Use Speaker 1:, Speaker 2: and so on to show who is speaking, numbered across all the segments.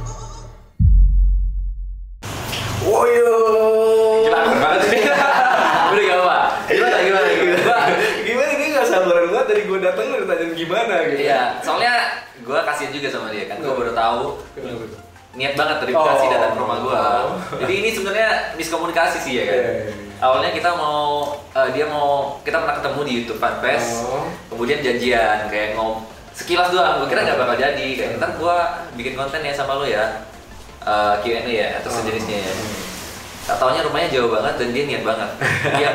Speaker 1: Iya,
Speaker 2: Iya.
Speaker 1: kasihan juga sama dia kan. Gue baru tahu
Speaker 2: Kenapa tuh?
Speaker 1: niat banget dari Bekasi
Speaker 2: Oh.
Speaker 1: datang ke rumah gua. Jadi ini sebenarnya miskomunikasi sih ya kan.
Speaker 2: Iya, iya, iya.
Speaker 1: Awalnya kita mau eh, dia mau kita pernah ketemu di YouTube FanFest.
Speaker 2: Oh.
Speaker 1: Kemudian janjian kayak ngom sekilas doang. Gua kira nggak bakal jadi. Kayak ntar gua bikin konten ya sama lo ya. Eh, Q&A
Speaker 2: Oh.
Speaker 1: ya atau sejenisnya ya. Tak taunya rumahnya jauh banget dan dia niat banget. Iya.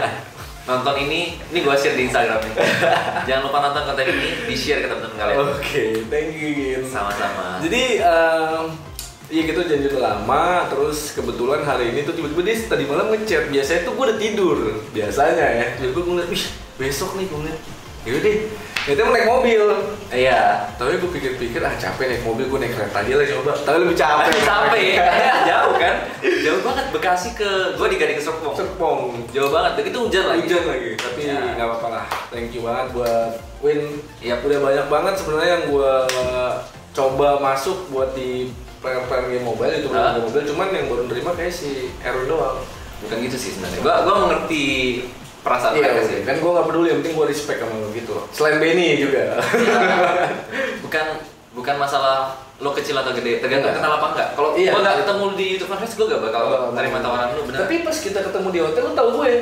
Speaker 1: nonton ini, ini gua share di Instagram nih. Jangan lupa nonton konten ini, di share ke teman-teman kalian.
Speaker 2: Oke, thank you Gin.
Speaker 1: Sama-sama.
Speaker 2: Jadi em, Iya gitu janji udah lama, terus kebetulan hari ini tuh tiba-tiba dia tadi malam ngechat. Biasanya tuh gue udah tidur, biasanya ya. Tiba-tiba gue ngeliat, wih besok nih gue ngeliat. Yaudah deh, itu naik mobil.
Speaker 1: Iya.
Speaker 2: Tapi gue pikir-pikir, ah capek naik mobil, gue naik kereta aja lah coba. Tapi lebih capek.
Speaker 1: sampai ya? jauh kan jauh banget Bekasi ke gua di Gading ke Serpong
Speaker 2: Serpong.
Speaker 1: jauh banget begitu hujan lagi
Speaker 2: Hujan lagi, tapi
Speaker 1: Ya.
Speaker 2: nggak apa-apa lah. Thank you banget buat Win. Ya,
Speaker 1: Yap.
Speaker 2: Udah banyak banget sebenarnya yang gue coba masuk buat di player-player game mobile itu
Speaker 1: Hah?
Speaker 2: game mobile. Cuman yang baru nerima kayak si Aaron doang.
Speaker 1: bukan gitu sih sebenarnya gua gua mengerti perasaan mereka
Speaker 2: Iya,
Speaker 1: sih
Speaker 2: kan gue nggak peduli, yang penting gue respect sama lo gitu loh. Selain Benny juga.
Speaker 1: Ya, bukan bukan masalah lo kecil atau gede tergantung
Speaker 2: Iya.
Speaker 1: kenal apa enggak kalau
Speaker 2: Iya.
Speaker 1: gua nggak ketemu di YouTube Fans gua gak bakal terima tawaran lu bener
Speaker 2: Tapi pas kita ketemu di hotel lo tau gue.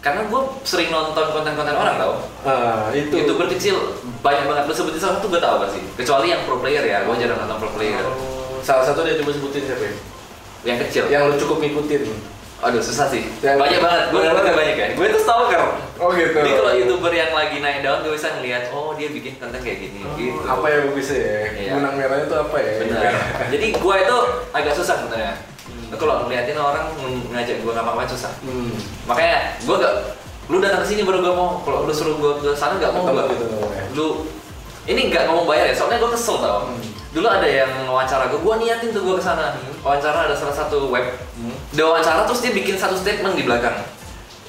Speaker 1: karena gua sering nonton konten-konten orang tau
Speaker 2: Ah, itu.
Speaker 1: youtuber kecil banyak banget lo sebutin salah satu gua tahu pasti kecuali yang pro player ya gua jarang nonton pro player Iya.
Speaker 2: Oh, Salah satu dia coba sebutin siapa ya?
Speaker 1: yang kecil
Speaker 2: Yang lo cukup ngikutin.
Speaker 1: Aduh susah sih.
Speaker 2: Ya.
Speaker 1: Banyak banget. Gue
Speaker 2: Banyak
Speaker 1: nonton
Speaker 2: banget.
Speaker 1: banyak ya. Gue tuh stalker.
Speaker 2: Oh gitu.
Speaker 1: Jadi kalau youtuber yang lagi naik daun, gue bisa ngeliat, oh dia bikin konten kayak gini,
Speaker 2: Oh,
Speaker 1: gitu.
Speaker 2: Apa yang gue bisa ya?
Speaker 1: Iya.
Speaker 2: Benang merahnya tuh apa ya?
Speaker 1: Benar. Jadi gue itu agak susah sebenarnya. Kalau ngeliatin orang ng- ngajak gue ngapa-ngapain susah.
Speaker 2: Hmm.
Speaker 1: Makanya gue gak, lu datang ke sini baru gue mau. Kalau lu suruh gue ke sana gak mau
Speaker 2: Tetep
Speaker 1: gue.
Speaker 2: gitu namanya.
Speaker 1: ya. Lu ini nggak ngomong bayar ya, soalnya gue kesel tau.
Speaker 2: Hmm.
Speaker 1: Dulu ada yang wawancara gue, gue niatin tuh gue kesana. Wawancara ada salah satu web
Speaker 2: Hmm.
Speaker 1: Dia wawancara terus dia bikin satu statement di belakang.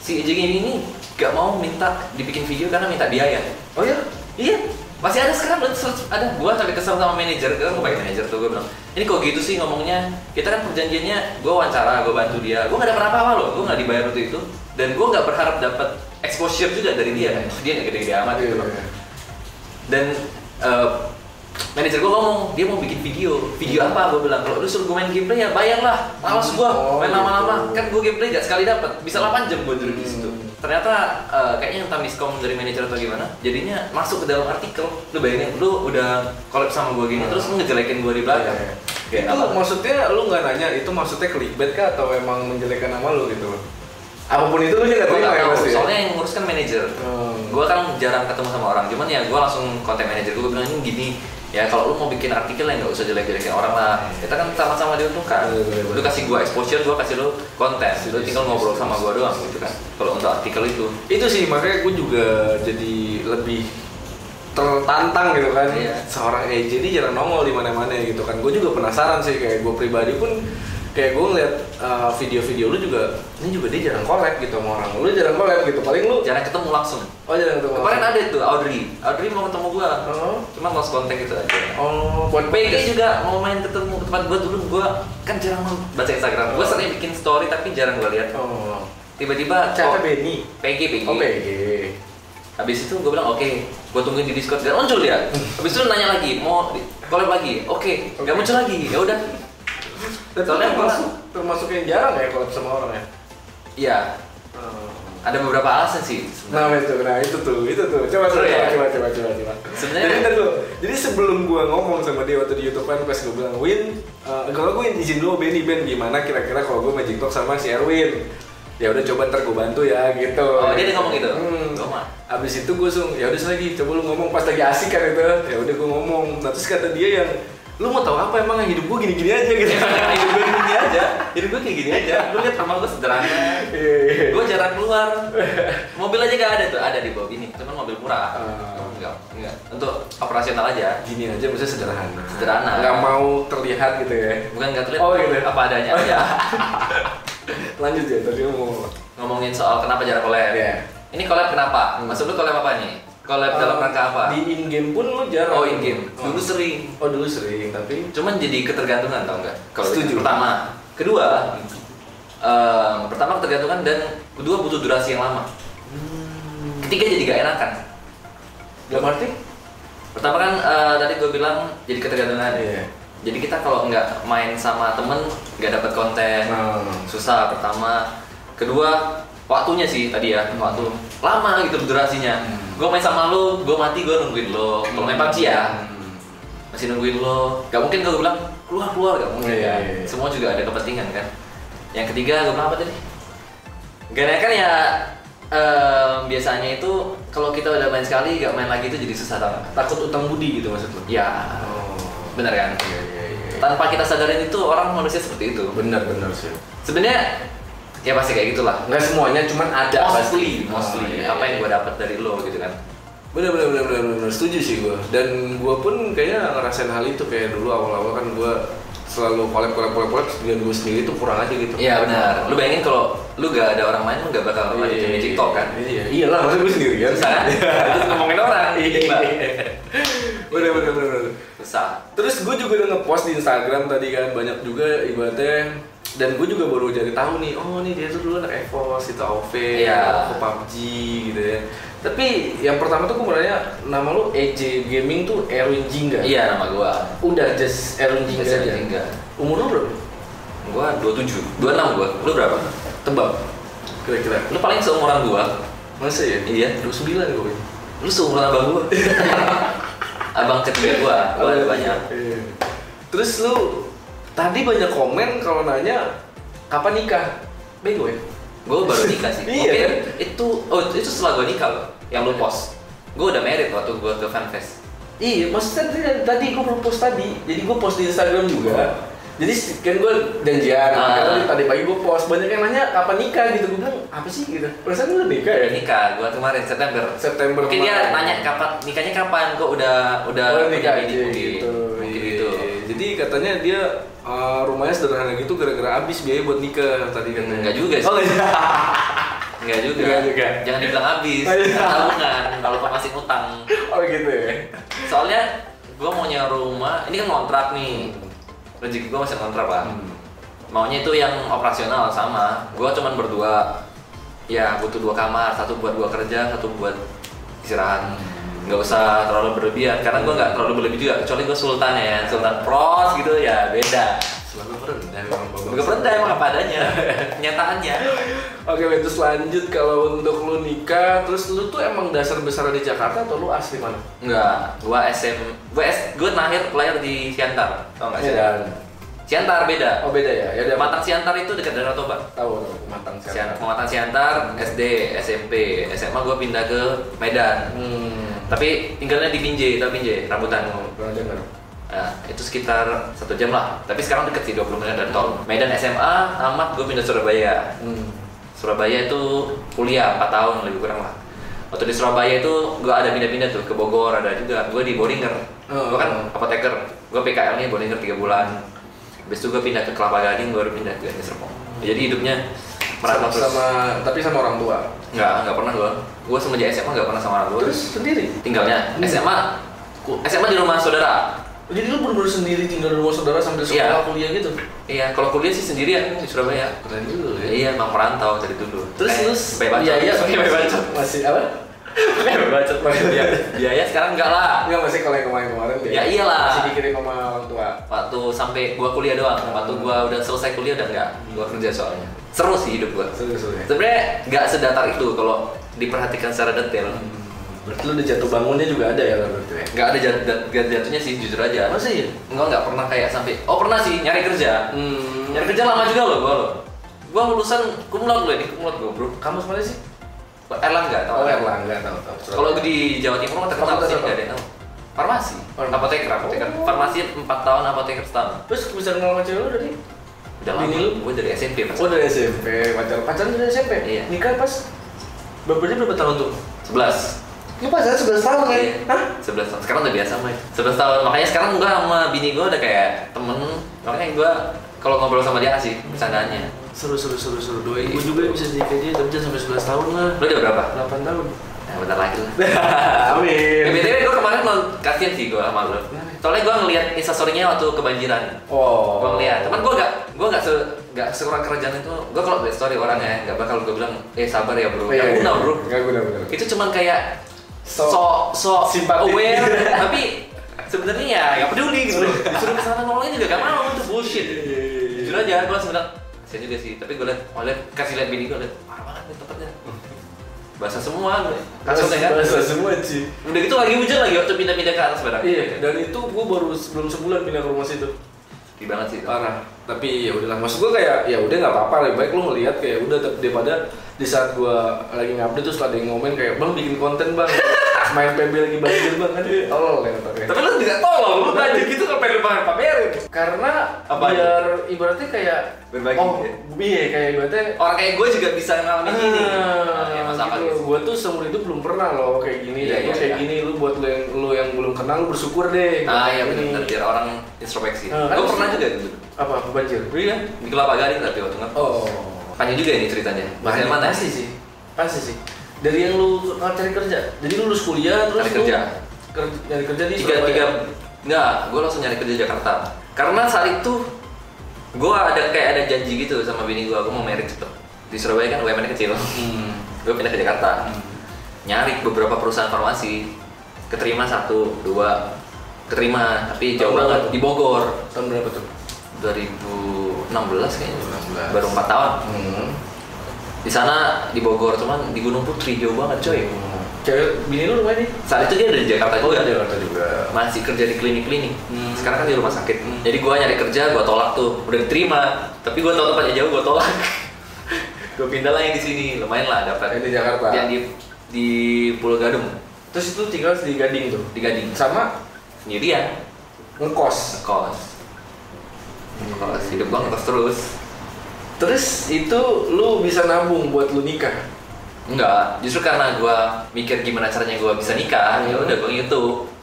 Speaker 1: Si Ejeng ini ini gak mau minta dibikin video karena minta biaya.
Speaker 2: Oh ya?
Speaker 1: Iya, masih ada sekarang loh, search- ada gua sampai kesel sama manajer, kan gua pakai manajer tuh gua bilang. Ini kok gitu sih ngomongnya? Kita kan perjanjiannya gua wawancara, gua bantu dia. Gua gak dapat apa-apa loh, gua gak dibayar untuk itu dan gua gak berharap dapat exposure juga dari
Speaker 2: Iya.
Speaker 1: dia kan. Dia gak gede-gede amat gitu loh. Dan eh, manajer gua ngomong, dia mau bikin video. Video
Speaker 2: Iya.
Speaker 1: apa? Gua bilang, kalau lu suruh gua main gameplay ya bayar lah.
Speaker 2: Oh,
Speaker 1: Malas gua main
Speaker 2: gitu.
Speaker 1: lama-lama. Kan gua gameplay gak sekali dapat. Bisa 8 jam gua duduk di situ.
Speaker 2: Hmm.
Speaker 1: Ternyata eh, kayaknya entah miskom dari manajer atau gimana. Jadinya masuk ke dalam artikel. Lu bayangin lu udah collab sama gua gini terus lu ngejelekin gua di belakang.
Speaker 2: Hmm. Iya.
Speaker 1: Kayak
Speaker 2: Itu
Speaker 1: apa?
Speaker 2: maksudnya lu nggak nanya itu maksudnya clickbait kah atau emang menjelekkan nama lu gitu? Apapun itu lu nggak
Speaker 1: Gua
Speaker 2: terima
Speaker 1: nggak
Speaker 2: ya
Speaker 1: tahu,
Speaker 2: pasti. ya?
Speaker 1: soalnya yang ngurus kan manajer.
Speaker 2: Hmm.
Speaker 1: Gua kan jarang ketemu sama orang, cuman ya gua langsung kontak manajer gua bilang ini gini. Ya kalau lu mau bikin artikel ya nggak usah jelek-jelekin orang lah. Kita kan sama-sama diuntungkan.
Speaker 2: Iya, iya, iya.
Speaker 1: Lu kasih gua exposure, gua kasih lu konten. Lu
Speaker 2: Yes,
Speaker 1: tinggal
Speaker 2: yes,
Speaker 1: ngobrol
Speaker 2: yes,
Speaker 1: sama
Speaker 2: yes,
Speaker 1: gua doang
Speaker 2: yes,
Speaker 1: gitu
Speaker 2: yes.
Speaker 1: kan. Kalau untuk artikel itu.
Speaker 2: Itu sih makanya gue juga jadi lebih tertantang gitu kan
Speaker 1: Iya.
Speaker 2: seorang AJ ini jarang nongol di mana-mana gitu kan gue juga penasaran sih kayak gue pribadi pun kayak gue ngeliat uh, video-video lu juga ini juga dia jarang collab gitu sama orang lu jarang collab gitu paling lu
Speaker 1: Jarang ketemu langsung.
Speaker 2: oh jarang ketemu
Speaker 1: Kemarin ada tuh Audrey. Audrey mau ketemu gua.
Speaker 2: Oh.
Speaker 1: Cuma lost kontak gitu aja.
Speaker 2: Oh, buat
Speaker 1: Peggy juga mau main ketemu ke tempat gua dulu gua kan jarang baca Instagram. Gua sering bikin story tapi jarang gua lihat.
Speaker 2: Oh.
Speaker 1: Tiba-tiba
Speaker 2: Cara
Speaker 1: kok-
Speaker 2: Benny.
Speaker 1: Peggy, Peggy.
Speaker 2: Oh, PG.
Speaker 1: Habis itu gue bilang oke, gue tungguin di Discord dan muncul dia. Habis itu nanya lagi, mau di- collab lagi, oke,
Speaker 2: Oke.
Speaker 1: nggak muncul lagi, ya udah.
Speaker 2: Nah, Tapi
Speaker 1: Soalnya
Speaker 2: termasuk termasuk yang jarang ya kalau sama orang ya.
Speaker 1: Iya, ada beberapa alasan sih.
Speaker 2: Nah, itu, nah itu tuh, itu tuh. Coba coba
Speaker 1: Seru ya?
Speaker 2: coba coba coba. coba.
Speaker 1: Sebenarnya-
Speaker 2: jadi, ntar dulu. jadi sebelum gua ngomong sama dia waktu di YouTube kan pas gua bilang Win, eh, kalau gua izin dulu Benny Ben gimana kira-kira kalau gua magic talk sama si Erwin. Ya udah coba ntar gua bantu ya gitu.
Speaker 1: Oh, dia udah ngomong gitu?
Speaker 2: Hmm.
Speaker 1: Gua mah.
Speaker 2: Abis itu gue langsung, ya udah Sel, lagi, coba lu ngomong pas lagi asik kan itu. Ya udah gue ngomong. Nah terus kata dia yang, lu mau tahu apa emang hidup gue gini-gini aja gitu.
Speaker 1: Sebenarnya hidup gue gini aja, hidup gue kayak gini aja. Lu lihat rumah gue sederhana,
Speaker 2: Iya, iya.
Speaker 1: gue jarang keluar. Mobil aja gak ada tuh, ada di bawah ini, cuman mobil murah.
Speaker 2: Ah.
Speaker 1: Enggak, enggak. Untuk operasional aja,
Speaker 2: Gini aja maksudnya sederhana.
Speaker 1: Sederhana.
Speaker 2: Nggak mau terlihat gitu ya.
Speaker 1: bukan nggak terlihat
Speaker 2: Oh, gitu.
Speaker 1: apa adanya aja.
Speaker 2: Lanjut ya tadi ngomong.
Speaker 1: Ngomongin soal kenapa jarang collab.
Speaker 2: Iya.
Speaker 1: Ini collab kenapa?
Speaker 2: Hmm.
Speaker 1: Maksud lu collab apa nih? Collab dalam rangka apa?
Speaker 2: Di in game pun lu jarang.
Speaker 1: Oh in game. Dulu
Speaker 2: sering.
Speaker 1: sering.
Speaker 2: Oh dulu sering tapi.
Speaker 1: Cuman jadi ketergantungan tau nggak? Kalau itu
Speaker 2: Setuju.
Speaker 1: Pertama. Kedua. em, pertama ketergantungan dan kedua butuh Hmm. durasi yang lama. Ketiga jadi gak enakan.
Speaker 2: Gak arti?
Speaker 1: pertama kan eh, tadi gue bilang jadi ketergantungan
Speaker 2: Iya.
Speaker 1: jadi kita kalau nggak main sama temen nggak dapat konten
Speaker 2: Hmm.
Speaker 1: susah pertama kedua waktunya sih tadi ya waktu lama gitu durasinya
Speaker 2: Hmm.
Speaker 1: gue main sama lo gue mati gue nungguin lo kalau main PUBG ya
Speaker 2: Hmm.
Speaker 1: masih nungguin lo gak mungkin gue bilang keluar keluar gak mungkin
Speaker 2: Iya,
Speaker 1: kan.
Speaker 2: iya, iya.
Speaker 1: semua juga ada kepentingan kan yang ketiga gue bilang apa tadi gak kan ya em, biasanya itu kalau kita udah main sekali gak main lagi itu jadi susah tau nggak?
Speaker 2: Takut utang budi gitu maksud lu?
Speaker 1: ya
Speaker 2: Oh.
Speaker 1: bener kan
Speaker 2: Iya, iya, iya.
Speaker 1: tanpa kita sadarin itu orang manusia seperti itu
Speaker 2: Benar, benar sih.
Speaker 1: sebenarnya ya pasti kayak gitulah
Speaker 2: Enggak semuanya, cuman ada
Speaker 1: mostly,
Speaker 2: pasti.
Speaker 1: mostly.
Speaker 2: Oh, iya,
Speaker 1: Ah, apa
Speaker 2: iya,
Speaker 1: yang
Speaker 2: iya.
Speaker 1: gue dapat dari lo gitu kan
Speaker 2: bener bener bener bener, bener. setuju sih gue dan gue pun kayaknya ngerasain hal itu kayak dulu awal awal kan gue selalu collab collab collab collab dengan gue sendiri tuh kurang aja gitu
Speaker 1: iya benar lu bayangin kalau lu gak ada orang main lu gak bakal ada di TikTok kan
Speaker 2: iya iya lah maksud gue sendiri kan
Speaker 1: susah kan Terus ngomongin orang
Speaker 2: Iya.
Speaker 1: Mbak.
Speaker 2: bener bener bener bener.
Speaker 1: susah
Speaker 2: terus gue juga udah ngepost di Instagram tadi kan banyak juga ibaratnya dan gue juga baru jadi tahu nih oh nih dia tuh dulu anak EVOS itu AOV
Speaker 1: Iya.
Speaker 2: ke PUBG gitu ya tapi yang pertama tuh gue mau nanya nama lu EJ Gaming tuh Erwin Jingga
Speaker 1: iya nama gua
Speaker 2: Udah just Aaron Jingga aja.
Speaker 1: Just Aaron Jingga.
Speaker 2: Umur lu berapa?
Speaker 1: gua 27 26 gua lu berapa
Speaker 2: Tebak. Kira-kira.
Speaker 1: lu paling seumuran gua
Speaker 2: Masa ya?
Speaker 1: Iya.
Speaker 2: 29 gue.
Speaker 1: lu seumuran abang gua abang ketiga gua gua ada banyak
Speaker 2: Iya. Terus lu tadi banyak komen kalau nanya kapan nikah? Bego ya?
Speaker 1: gua baru nikah sih
Speaker 2: Iya.
Speaker 1: mungkin itu oh itu setelah gua nikah loh yang lu post gua udah married waktu gua ke fanfest
Speaker 2: Iya, maksudnya tadi, tadi gue belum post tadi, jadi gue post di Instagram juga. Jadi kan gue janjian,
Speaker 1: Ah.
Speaker 2: makanya tadi pagi gue post banyak yang nanya kapan nikah gitu. Gue bilang apa sih gitu? Perasaan lu udah nikah ya?
Speaker 1: nikah gua kemarin September
Speaker 2: September
Speaker 1: mungkin dia
Speaker 2: kemarin.
Speaker 1: tanya kapan nikahnya kapan kok udah udah
Speaker 2: Oh,
Speaker 1: punya
Speaker 2: nikah
Speaker 1: bini,
Speaker 2: aja
Speaker 1: mungkin.
Speaker 2: gitu.
Speaker 1: mungkin
Speaker 2: Iya.
Speaker 1: gitu
Speaker 2: Jadi katanya dia uh, rumahnya sederhana gitu gara-gara habis biaya buat nikah tadi katanya.
Speaker 1: Enggak juga sih.
Speaker 2: Oh, iya.
Speaker 1: Enggak juga.
Speaker 2: Enggak juga.
Speaker 1: Jangan dibilang habis.
Speaker 2: Oh, iya.
Speaker 1: Tabungan kalau kau masih utang.
Speaker 2: oh gitu ya.
Speaker 1: Soalnya gua mau nyewa rumah, ini kan kontrak nih. Rezeki gua masih kontrak lah. Maunya itu yang operasional sama. Gua cuman berdua. Ya butuh dua kamar, satu buat gua kerja, satu buat istirahat. Nggak usah terlalu berlebihan, karena gua nggak terlalu berlebih juga. Kecuali gua sultan ya, sultan pros gitu ya beda.
Speaker 2: Selalu rendah memang bagus.
Speaker 1: Gak rendah emang apa adanya, kenyataannya.
Speaker 2: Oke, wait, terus lanjut kalau untuk lu nikah, terus lu tuh emang dasar besar di Jakarta atau lu asli mana?
Speaker 1: Enggak, gua SM, gua S, gua lahir lahir di Siantar, tau nggak sih?
Speaker 2: Medan.
Speaker 1: Siantar beda.
Speaker 2: Oh beda ya. Ya udah
Speaker 1: Matang Siantar itu dekat daerah Toba.
Speaker 2: tahu tahu matang
Speaker 1: Siantar,
Speaker 2: sekarang.
Speaker 1: Matang Siantar, SD, SMP, SMA gua pindah ke Medan.
Speaker 2: Hmm.
Speaker 1: Tapi tinggalnya di Binjai, tau Binjai, Rambutan.
Speaker 2: Oh, pernah dengar.
Speaker 1: Nah, itu sekitar satu jam lah. Tapi sekarang deket sih 20 menit dari tol. Medan SMA, tamat gua pindah Surabaya.
Speaker 2: Hmm.
Speaker 1: Surabaya itu kuliah 4 tahun lebih kurang lah. Waktu di Surabaya itu gue ada pindah-pindah tuh ke Bogor ada juga. Gue di Boringer.
Speaker 2: Oh,
Speaker 1: gue kan
Speaker 2: oh.
Speaker 1: apoteker. Gue PKL nya Boringer 3 bulan. Habis itu gue pindah ke Kelapa Gading baru pindah ke Serpong. Jadi hidupnya
Speaker 2: Sama,
Speaker 1: merata terus.
Speaker 2: sama tapi sama orang tua.
Speaker 1: Nggak, nggak pernah gue. Gue semenjak SMA nggak pernah sama orang gue.
Speaker 2: Terus sendiri.
Speaker 1: Tinggalnya
Speaker 2: Hmm.
Speaker 1: SMA, ku- SMA di rumah saudara.
Speaker 2: Jadi lu bener-bener sendiri tinggal di rumah saudara sambil
Speaker 1: Iya.
Speaker 2: sekolah kuliah gitu?
Speaker 1: Iya, kalau kuliah sih sendirian di Surabaya.
Speaker 2: Keren juga ya.
Speaker 1: Iya, emang perantau dari dulu.
Speaker 2: Terus
Speaker 1: Eh,
Speaker 2: lu
Speaker 1: Bebas. bacot.
Speaker 2: biaya
Speaker 1: Bebas bacot.
Speaker 2: masih apa?
Speaker 1: Kayak bacot banget ya. Biaya sekarang enggak lah.
Speaker 2: Enggak masih kalau yang kemarin-kemarin deh.
Speaker 1: Ya iyalah.
Speaker 2: Masih dikirim sama orang tua.
Speaker 1: Waktu sampai gua kuliah doang. Waktu gua udah selesai kuliah udah enggak. Gua kerja soalnya. Seru sih hidup gua.
Speaker 2: Serius lu ya.
Speaker 1: Sebenarnya nggak sedatar itu kalau diperhatikan secara detail.
Speaker 2: Berarti lu udah jatuh bangunnya juga ada ya berarti ya?
Speaker 1: Nggak ada jat, jat- jat- jatuhnya sih jujur aja.
Speaker 2: Masa iya?
Speaker 1: Enggak nggak pernah kayak sampai. Oh pernah sih nyari kerja.
Speaker 2: Hmm.
Speaker 1: Nyari kerja lama juga loh gua loh. Gua lulusan cum laude loh ini cum laude gua bro.
Speaker 2: Kamus mana sih?
Speaker 1: Erlangga tau
Speaker 2: Oh,
Speaker 1: nggak?
Speaker 2: Erlangga tahu tahu.
Speaker 1: Kalau di Jawa Timur mah terkenal
Speaker 2: Fakultas
Speaker 1: sih
Speaker 2: apa?
Speaker 1: nggak ada yang tahu. Farmasi,
Speaker 2: Farmasi.
Speaker 1: apoteker, apoteker.
Speaker 2: Oh.
Speaker 1: Farmasi 4 tahun, apoteker setahun.
Speaker 2: terus bisa kenal sama cewek lu dari?
Speaker 1: Udah lama.
Speaker 2: Bini lu?
Speaker 1: Gue dari SMP pas
Speaker 2: Oh dari SMP, pacar pacaran dari SMP.
Speaker 1: Iya.
Speaker 2: Nikah pas Bapaknya berapa tahun tuh?
Speaker 1: 11.
Speaker 2: Lu pacaran 11 tahun kan?
Speaker 1: Iya.
Speaker 2: Hah?
Speaker 1: 11 tahun. Sekarang udah biasa, Mai. 11 tahun. Makanya sekarang gua sama bini gua udah kayak temen. Makanya gua kalau ngobrol sama dia asik bercandanya.
Speaker 2: Seru seru seru seru. Doain gua juga bisa nikah dia tapi jangan sampai 11 tahun lah.
Speaker 1: Lu udah berapa?
Speaker 2: 8 tahun.
Speaker 1: Nah, bentar lagi lah.
Speaker 2: Amin.
Speaker 1: Eh, BTW gua kemarin mau kasihan sih gua sama lu. Soalnya gua ngeliat instastory-nya waktu kebanjiran.
Speaker 2: Oh.
Speaker 1: Gua ngeliat. Cuman gua gak gua gak se gak sekurang kerjaan itu. Gua kalau story orang ya, gak bakal gua bilang, "Eh, sabar ya, Bro."
Speaker 2: Iya,
Speaker 1: Gak
Speaker 2: iya.
Speaker 1: guna, Bro.
Speaker 2: Nggak guna, bener.
Speaker 1: itu cuman kayak so so,
Speaker 2: simpatik.
Speaker 1: aware tapi sebenarnya ya nggak peduli gitu loh disuruh kesana nolongin juga gak mau itu bullshit
Speaker 2: Iya, iya, iya.
Speaker 1: jujur aja gue langsung bilang saya juga sih tapi gue liat oh liat kasih liat bini gue liat parah banget nih tempatnya basah semua gue kasur kan
Speaker 2: Bahasa semua sih.
Speaker 1: udah gitu lagi hujan lagi waktu pindah-pindah ke atas barang
Speaker 2: Iya, dan itu gue baru sebelum sebulan pindah ke rumah situ.
Speaker 1: di banget sih itu.
Speaker 2: parah tapi ya udahlah maksud gue kayak ya udah nggak apa-apa lebih baik lu ngelihat kayak udah tetep daripada di saat gue lagi ngupdate terus ada yang ngomen kayak bang bikin konten bang main PB lagi banjir bang kan tolol ya tapi
Speaker 1: tapi lu tidak tolong lu tadi gitu ngapain lu pamer pamerin
Speaker 2: karena
Speaker 1: Apa?
Speaker 2: biar ibaratnya kayak
Speaker 1: Berbagi,
Speaker 2: oh
Speaker 1: ya?
Speaker 2: iya kayak ibaratnya
Speaker 1: orang kayak gue juga bisa
Speaker 2: Ah,
Speaker 1: ngalamin ini ya, masa apa gitu.
Speaker 2: gue tuh seumur hidup belum pernah loh kayak gini
Speaker 1: Iya,
Speaker 2: ya,
Speaker 1: iya,
Speaker 2: kayak
Speaker 1: iya.
Speaker 2: gini lu buat lu yang lu yang belum kenal lu bersyukur deh
Speaker 1: ah iya
Speaker 2: Ini.
Speaker 1: benar-benar biar orang
Speaker 2: Eh,
Speaker 1: introspeksi
Speaker 2: kan
Speaker 1: gue pernah
Speaker 2: itu-
Speaker 1: juga gitu
Speaker 2: apa banjir
Speaker 1: Iya, di Kelapa Gading tapi waktu nggak.
Speaker 2: oh
Speaker 1: Panjang juga ini ceritanya. Mas
Speaker 2: Pasti-
Speaker 1: Herman ya?
Speaker 2: Pasti sih. Pasti sih. Dari yang lu cari kerja. Jadi lu lulus kuliah terus
Speaker 1: Cari
Speaker 2: lu
Speaker 1: kerja.
Speaker 2: ker- nyari kerja di
Speaker 1: Tiga
Speaker 2: Surabaya.
Speaker 1: tiga. Nggak, gue langsung nyari kerja di Jakarta. Karena saat itu gue ada kayak ada janji gitu sama bini gue, gue mau merit cepet. Di Surabaya kan UMN kecil.
Speaker 2: Hmm.
Speaker 1: gue pindah ke Jakarta. Nyari beberapa perusahaan farmasi, keterima satu, dua, keterima tapi jauh
Speaker 2: Tahun
Speaker 1: banget
Speaker 2: berapa?
Speaker 1: di Bogor.
Speaker 2: Tahun berapa tuh?
Speaker 1: 2016 kayaknya.
Speaker 2: 2016.
Speaker 1: Baru 4 tahun.
Speaker 2: Hmm.
Speaker 1: Di sana di Bogor cuman di Gunung Putri jauh banget coy.
Speaker 2: Cewek bini lu rumahnya?
Speaker 1: Saat itu dia dari Jakarta juga.
Speaker 2: Jakarta juga.
Speaker 1: masih kerja di klinik-klinik
Speaker 2: Hmm.
Speaker 1: sekarang kan di rumah sakit
Speaker 2: Hmm.
Speaker 1: jadi gua nyari kerja gua tolak tuh udah diterima tapi gua tahu tempatnya jauh gua tolak gua pindah lagi di sini lumayan lah dapat
Speaker 2: Yang di Jakarta.
Speaker 1: yang di di Pulau Gadung
Speaker 2: Terus itu tinggal di Gading tuh.
Speaker 1: di Gading
Speaker 2: Sama
Speaker 1: sendirian
Speaker 2: ngekos.
Speaker 1: ngekos
Speaker 2: Hmm.
Speaker 1: ngekos hidup gua ngekos terus
Speaker 2: Terus itu lu bisa nabung buat lu nikah.
Speaker 1: enggak justru karena gua mikir gimana caranya gua bisa nikah ya
Speaker 2: Hmm.
Speaker 1: udah gua YouTube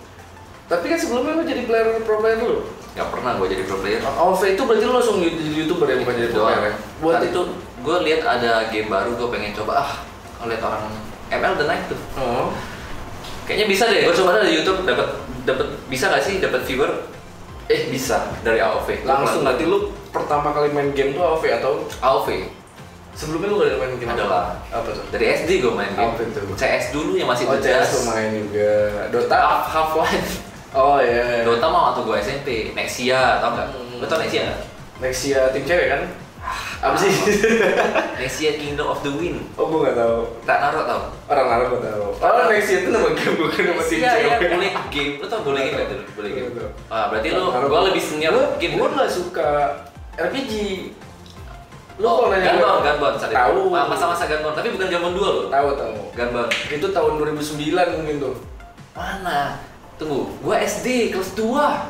Speaker 2: Tapi kan sebelumnya lu jadi player pro player dulu.
Speaker 1: nggak pernah gua jadi pro player
Speaker 2: OV itu berarti lu langsung jadi youtuber ya Oh, bukan jadi pro player ya?
Speaker 1: buat itu gua lihat ada game baru gua pengen coba ah kalau lihat orang ML udah naik tuh
Speaker 2: Oh.
Speaker 1: Kayaknya bisa deh. Gue coba dari YouTube dapat dapat bisa nggak sih dapat viewer? Eh bisa dari AOV.
Speaker 2: Langsung
Speaker 1: Gua
Speaker 2: nanti lu pertama kali main game tuh AOV atau
Speaker 1: pelan- AOV
Speaker 2: sebelumnya lu udah main game? apa?
Speaker 1: adalah
Speaker 2: Apa tuh?
Speaker 1: dari SD gue main game.
Speaker 2: Apa itu?
Speaker 1: CS dulu yang masih
Speaker 2: Oh, CS lu
Speaker 1: tuh
Speaker 2: main juga. Dota.
Speaker 1: Half Half Life.
Speaker 2: Oh iya.
Speaker 1: Dota mau atau gue SMP. Nexia tau nggak?
Speaker 2: Hmm.
Speaker 1: Lo tau Nexia nggak?
Speaker 2: Nexia tim cewek kan?
Speaker 1: Ah.
Speaker 2: Apa sih?
Speaker 1: Nexia Kingdom of the Wind.
Speaker 2: oh, gua enggak tahu.
Speaker 1: Tak naruh tau?
Speaker 2: Orang Arab gua tahu. Oh, Nexia itu nama game bukan nama tim
Speaker 1: Nexia
Speaker 2: cewek.
Speaker 1: ya boleh game. Lo tau boleh game nggak dulu? Boleh game.
Speaker 2: Nggak
Speaker 1: Ah berarti lo
Speaker 2: Arab.
Speaker 1: gue lebih senior
Speaker 2: Gua-
Speaker 1: game.
Speaker 2: Gua enggak suka RPG. Lu
Speaker 1: Oh,
Speaker 2: kalau nanya
Speaker 1: Gunbound,
Speaker 2: gua-
Speaker 1: Gunbound saat itu.
Speaker 2: Tahu.
Speaker 1: Ah, Masa-masa Gunbound, tapi bukan Gunbound 2 loh.
Speaker 2: Tahu tahu.
Speaker 1: Gunbound.
Speaker 2: Itu tahun 2009 mungkin tuh.
Speaker 1: Mana? Tunggu, gua SD kelas 2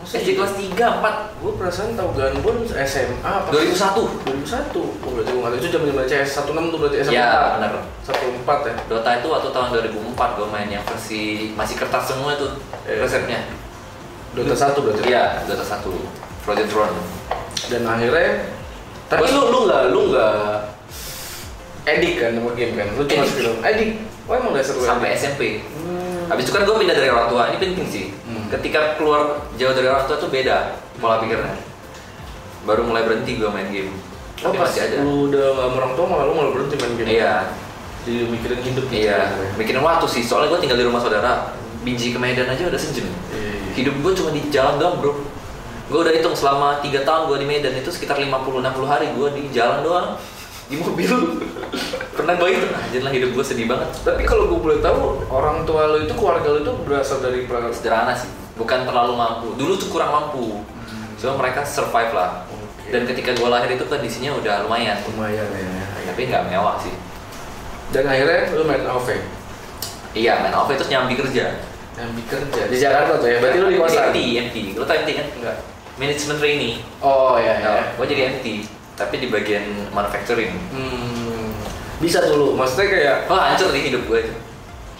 Speaker 2: Masa
Speaker 1: SD
Speaker 2: iya?
Speaker 1: kelas 3, 4
Speaker 2: Gue perasaan tahu Gunbon SMA apa?
Speaker 1: 2001
Speaker 2: 2001. Oh, berarti gue nggak tahu. itu zaman-zaman CS 16 tuh berarti S14.
Speaker 1: Iya, benar.
Speaker 2: 14 ya.
Speaker 1: Dota itu waktu tahun 2004 gua main yang versi masih kertas semua tuh
Speaker 2: Iya.
Speaker 1: resepnya
Speaker 2: Dota 1 berarti.
Speaker 1: Iya, Dota 1 Frozen Throne
Speaker 2: Dan akhirnya tapi
Speaker 1: Gua-
Speaker 2: lu lu nggak lu nggak edik kan sama game kan? Lu cuma
Speaker 1: Edik.
Speaker 2: film edik. Wah emang dasar lu
Speaker 1: sampai
Speaker 2: edik?
Speaker 1: SMP
Speaker 2: Hmm.
Speaker 1: Habis itu kan gua pindah dari orang tua, ini penting sih
Speaker 2: Hmm.
Speaker 1: Ketika keluar jauh dari orang tua tuh beda pola pikirnya Baru mulai berhenti gua main game
Speaker 2: Oh
Speaker 1: Tapi
Speaker 2: pas
Speaker 1: masih ada
Speaker 2: lu udah nggak sama orang tua malah lu malah berhenti main game.
Speaker 1: Iya,
Speaker 2: Jadi lu mikirin hidup. gitu
Speaker 1: Iya,
Speaker 2: sebenarnya.
Speaker 1: mikirin waktu sih. Soalnya gue tinggal di rumah saudara, binji ke Medan aja udah sejam.
Speaker 2: Iya.
Speaker 1: Hidup gue cuma di jalan doang, bro. Gue udah hitung selama 3 tahun gue di Medan itu sekitar 50-60 hari gue di jalan doang, di mobil. Pernah gue itu, anjir lah hidup gue sedih banget.
Speaker 2: Tapi kalau gue boleh tahu orang tua lu itu keluarga lu itu berasal dari perantau.
Speaker 1: sederhana sih, bukan terlalu mampu. Dulu tuh kurang mampu,
Speaker 2: Hmm.
Speaker 1: cuma mereka survive lah.
Speaker 2: Oke.
Speaker 1: Dan ketika gue lahir itu kondisinya udah lumayan,
Speaker 2: Lumayan ya.
Speaker 1: tapi nggak mewah sih.
Speaker 2: Dan akhirnya lu main AOV
Speaker 1: Iya, main off itu nyambi kerja.
Speaker 2: yang kerja di Jakarta tuh ya. Berarti lu di kosan.
Speaker 1: MT, MT. Lo tau MT kan?
Speaker 2: Enggak.
Speaker 1: Management trainee.
Speaker 2: Oh ya ya.
Speaker 1: Nah, gue jadi MT, tapi di bagian manufacturing.
Speaker 2: Hmm. Bisa dulu. Maksudnya kayak
Speaker 1: Wah, hancur nih hidup gue.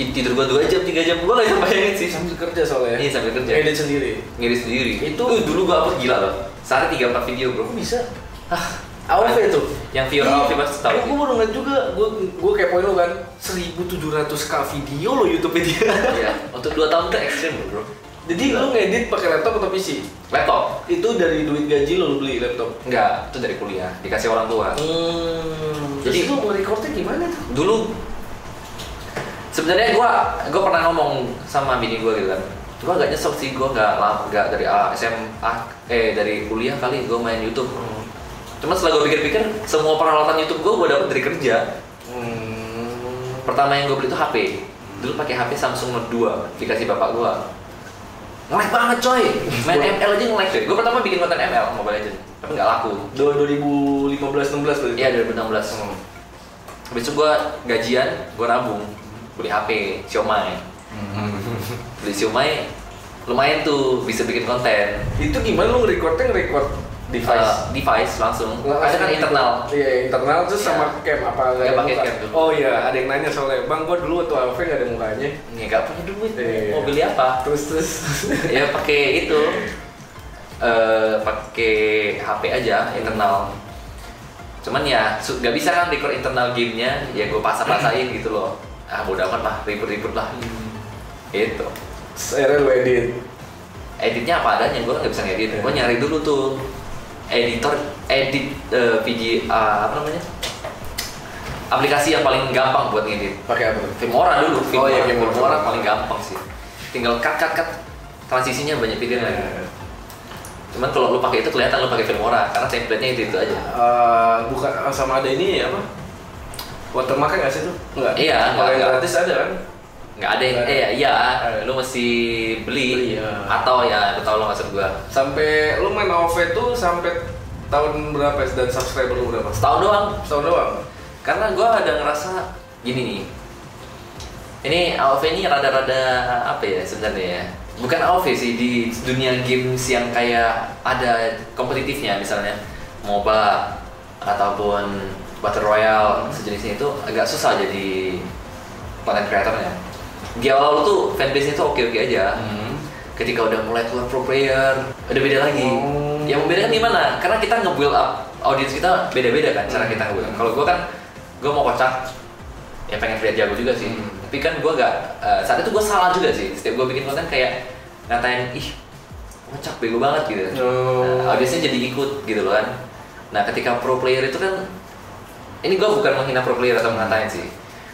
Speaker 1: Tidur gue 2 jam, 3 jam, gue gak bisa bayangin sih.
Speaker 2: sambil kerja soalnya.
Speaker 1: Iya, sambil kerja.
Speaker 2: Edit sendiri.
Speaker 1: Ngiri sendiri.
Speaker 2: Itu-
Speaker 1: Tuh, dulu gue upload gila loh. Sehari 3-4 video bro.
Speaker 2: Kok bisa?
Speaker 1: Hah,
Speaker 2: AOV tuh.
Speaker 1: Yang viewer AOV pasti tahu.
Speaker 2: Gue baru ngeliat juga, gue gue kepoin lo kan, 1700 k video lo YouTube dia.
Speaker 1: Iya, untuk 2 tahun itu ekstrim bro.
Speaker 2: Jadi lo ngedit pakai laptop atau PC?
Speaker 1: Laptop?
Speaker 2: Itu dari duit gaji lo, lo beli laptop.
Speaker 1: Enggak, itu dari kuliah, dikasih orang tua.
Speaker 2: Hmm.
Speaker 1: Jadi-
Speaker 2: Jadi lo ngerekordnya gimana tuh?
Speaker 1: Dulu sebenarnya gue gue pernah ngomong sama bini gue gitu kan gue agak nyesel sih gue nggak lama nggak dari ah, SMA eh dari kuliah kali gue main YouTube
Speaker 2: Oh.
Speaker 1: cuman setelah gue pikir-pikir semua peralatan YouTube gue gue dapet dari kerja
Speaker 2: Hmm.
Speaker 1: pertama yang gue beli itu HP dulu pakai HP Samsung Note 2 dikasih bapak gue ngelag banget coy main
Speaker 2: Gua-
Speaker 1: ML aja ngelag coy gue pertama bikin konten ML Mobile Legends tapi nggak laku
Speaker 2: Dua- 2015 16 berarti.
Speaker 1: iya 2016
Speaker 2: Hmm.
Speaker 1: habis itu gue gajian gue nabung beli HP Xiaomi
Speaker 2: Hmm.
Speaker 1: beli Xiaomi lumayan tuh bisa bikin konten
Speaker 2: Itu gimana lu ngerekordnya ngerekord device?
Speaker 1: Eh, device langsung
Speaker 2: Lah,
Speaker 1: ada kan internal
Speaker 2: Iya, internal terus sama cam apa
Speaker 1: Nggak pakai
Speaker 2: muka?
Speaker 1: cam dulu.
Speaker 2: Oh iya, ada yang nanya soalnya, "Bang, gua dulu waktu AV nggak ada mukanya."
Speaker 1: ya gak punya duit
Speaker 2: Iya.
Speaker 1: mau beli apa
Speaker 2: Terus terus.
Speaker 1: ya pakai itu eh pakai HP aja internal cuman ya su- nggak bisa kan record internal gamenya ya gue pasang-pasain gitu loh ah bodo amat lah ribut-ribut lah gitu
Speaker 2: Akhirnya lu edit.
Speaker 1: editnya apa adanya gue nggak bisa ngedit gue nyari dulu tuh editor edit eh, VG eh, apa namanya aplikasi yang paling gampang buat ngedit
Speaker 2: Pakai apa?
Speaker 1: Filmora dulu
Speaker 2: Oh
Speaker 1: Filmora,
Speaker 2: iya, Filmora.
Speaker 1: Filmora. paling gampang sih tinggal cut cut cut transisinya banyak pilihan
Speaker 2: Iya.
Speaker 1: lagi cuman kalau lu pakai itu kelihatan lu pakai Filmora karena template-nya itu itu aja
Speaker 2: Eh, bukan sama ada ini ya apa? Watermark nggak sih tuh? Enggak.
Speaker 1: Iya,
Speaker 2: Kalau
Speaker 1: nggak,
Speaker 2: yang
Speaker 1: nggak.
Speaker 2: gratis ada kan?
Speaker 1: nggak ada yang
Speaker 2: Nggak
Speaker 1: eh
Speaker 2: ada.
Speaker 1: ya, iya
Speaker 2: Eh.
Speaker 1: lu mesti
Speaker 2: Beli,
Speaker 1: beli
Speaker 2: ya.
Speaker 1: atau ya lu tau lo maksud gua
Speaker 2: Sampai lu main AOV tuh sampai tahun berapa ya? dan subscriber lu berapa?
Speaker 1: setahun doang
Speaker 2: Setahun doang.
Speaker 1: karena gue ada ngerasa gini nih ini AOV ini rada-rada apa ya sebenarnya ya bukan AOV sih di dunia games yang kayak ada kompetitifnya misalnya MOBA ataupun Battle Royale sejenisnya itu agak susah jadi content creatornya di awal tuh fanbase-nya tuh oke-oke aja
Speaker 2: Hmm.
Speaker 1: ketika udah mulai keluar pro player udah beda lagi
Speaker 2: Oh.
Speaker 1: yang membedakan gimana karena kita nge-build up audiens kita beda-beda kan cara kita nge-build up. kalau gue kan gue mau kocak ya pengen lihat jago juga sih
Speaker 2: Hmm.
Speaker 1: tapi kan gue gak eh, saat itu gue salah juga sih setiap gue bikin konten kayak ngatain ih kocak bego banget gitu
Speaker 2: Oh.
Speaker 1: nah, audiensnya jadi ikut gitu loh kan nah ketika pro player itu kan ini gue bukan menghina pro player atau ngatain sih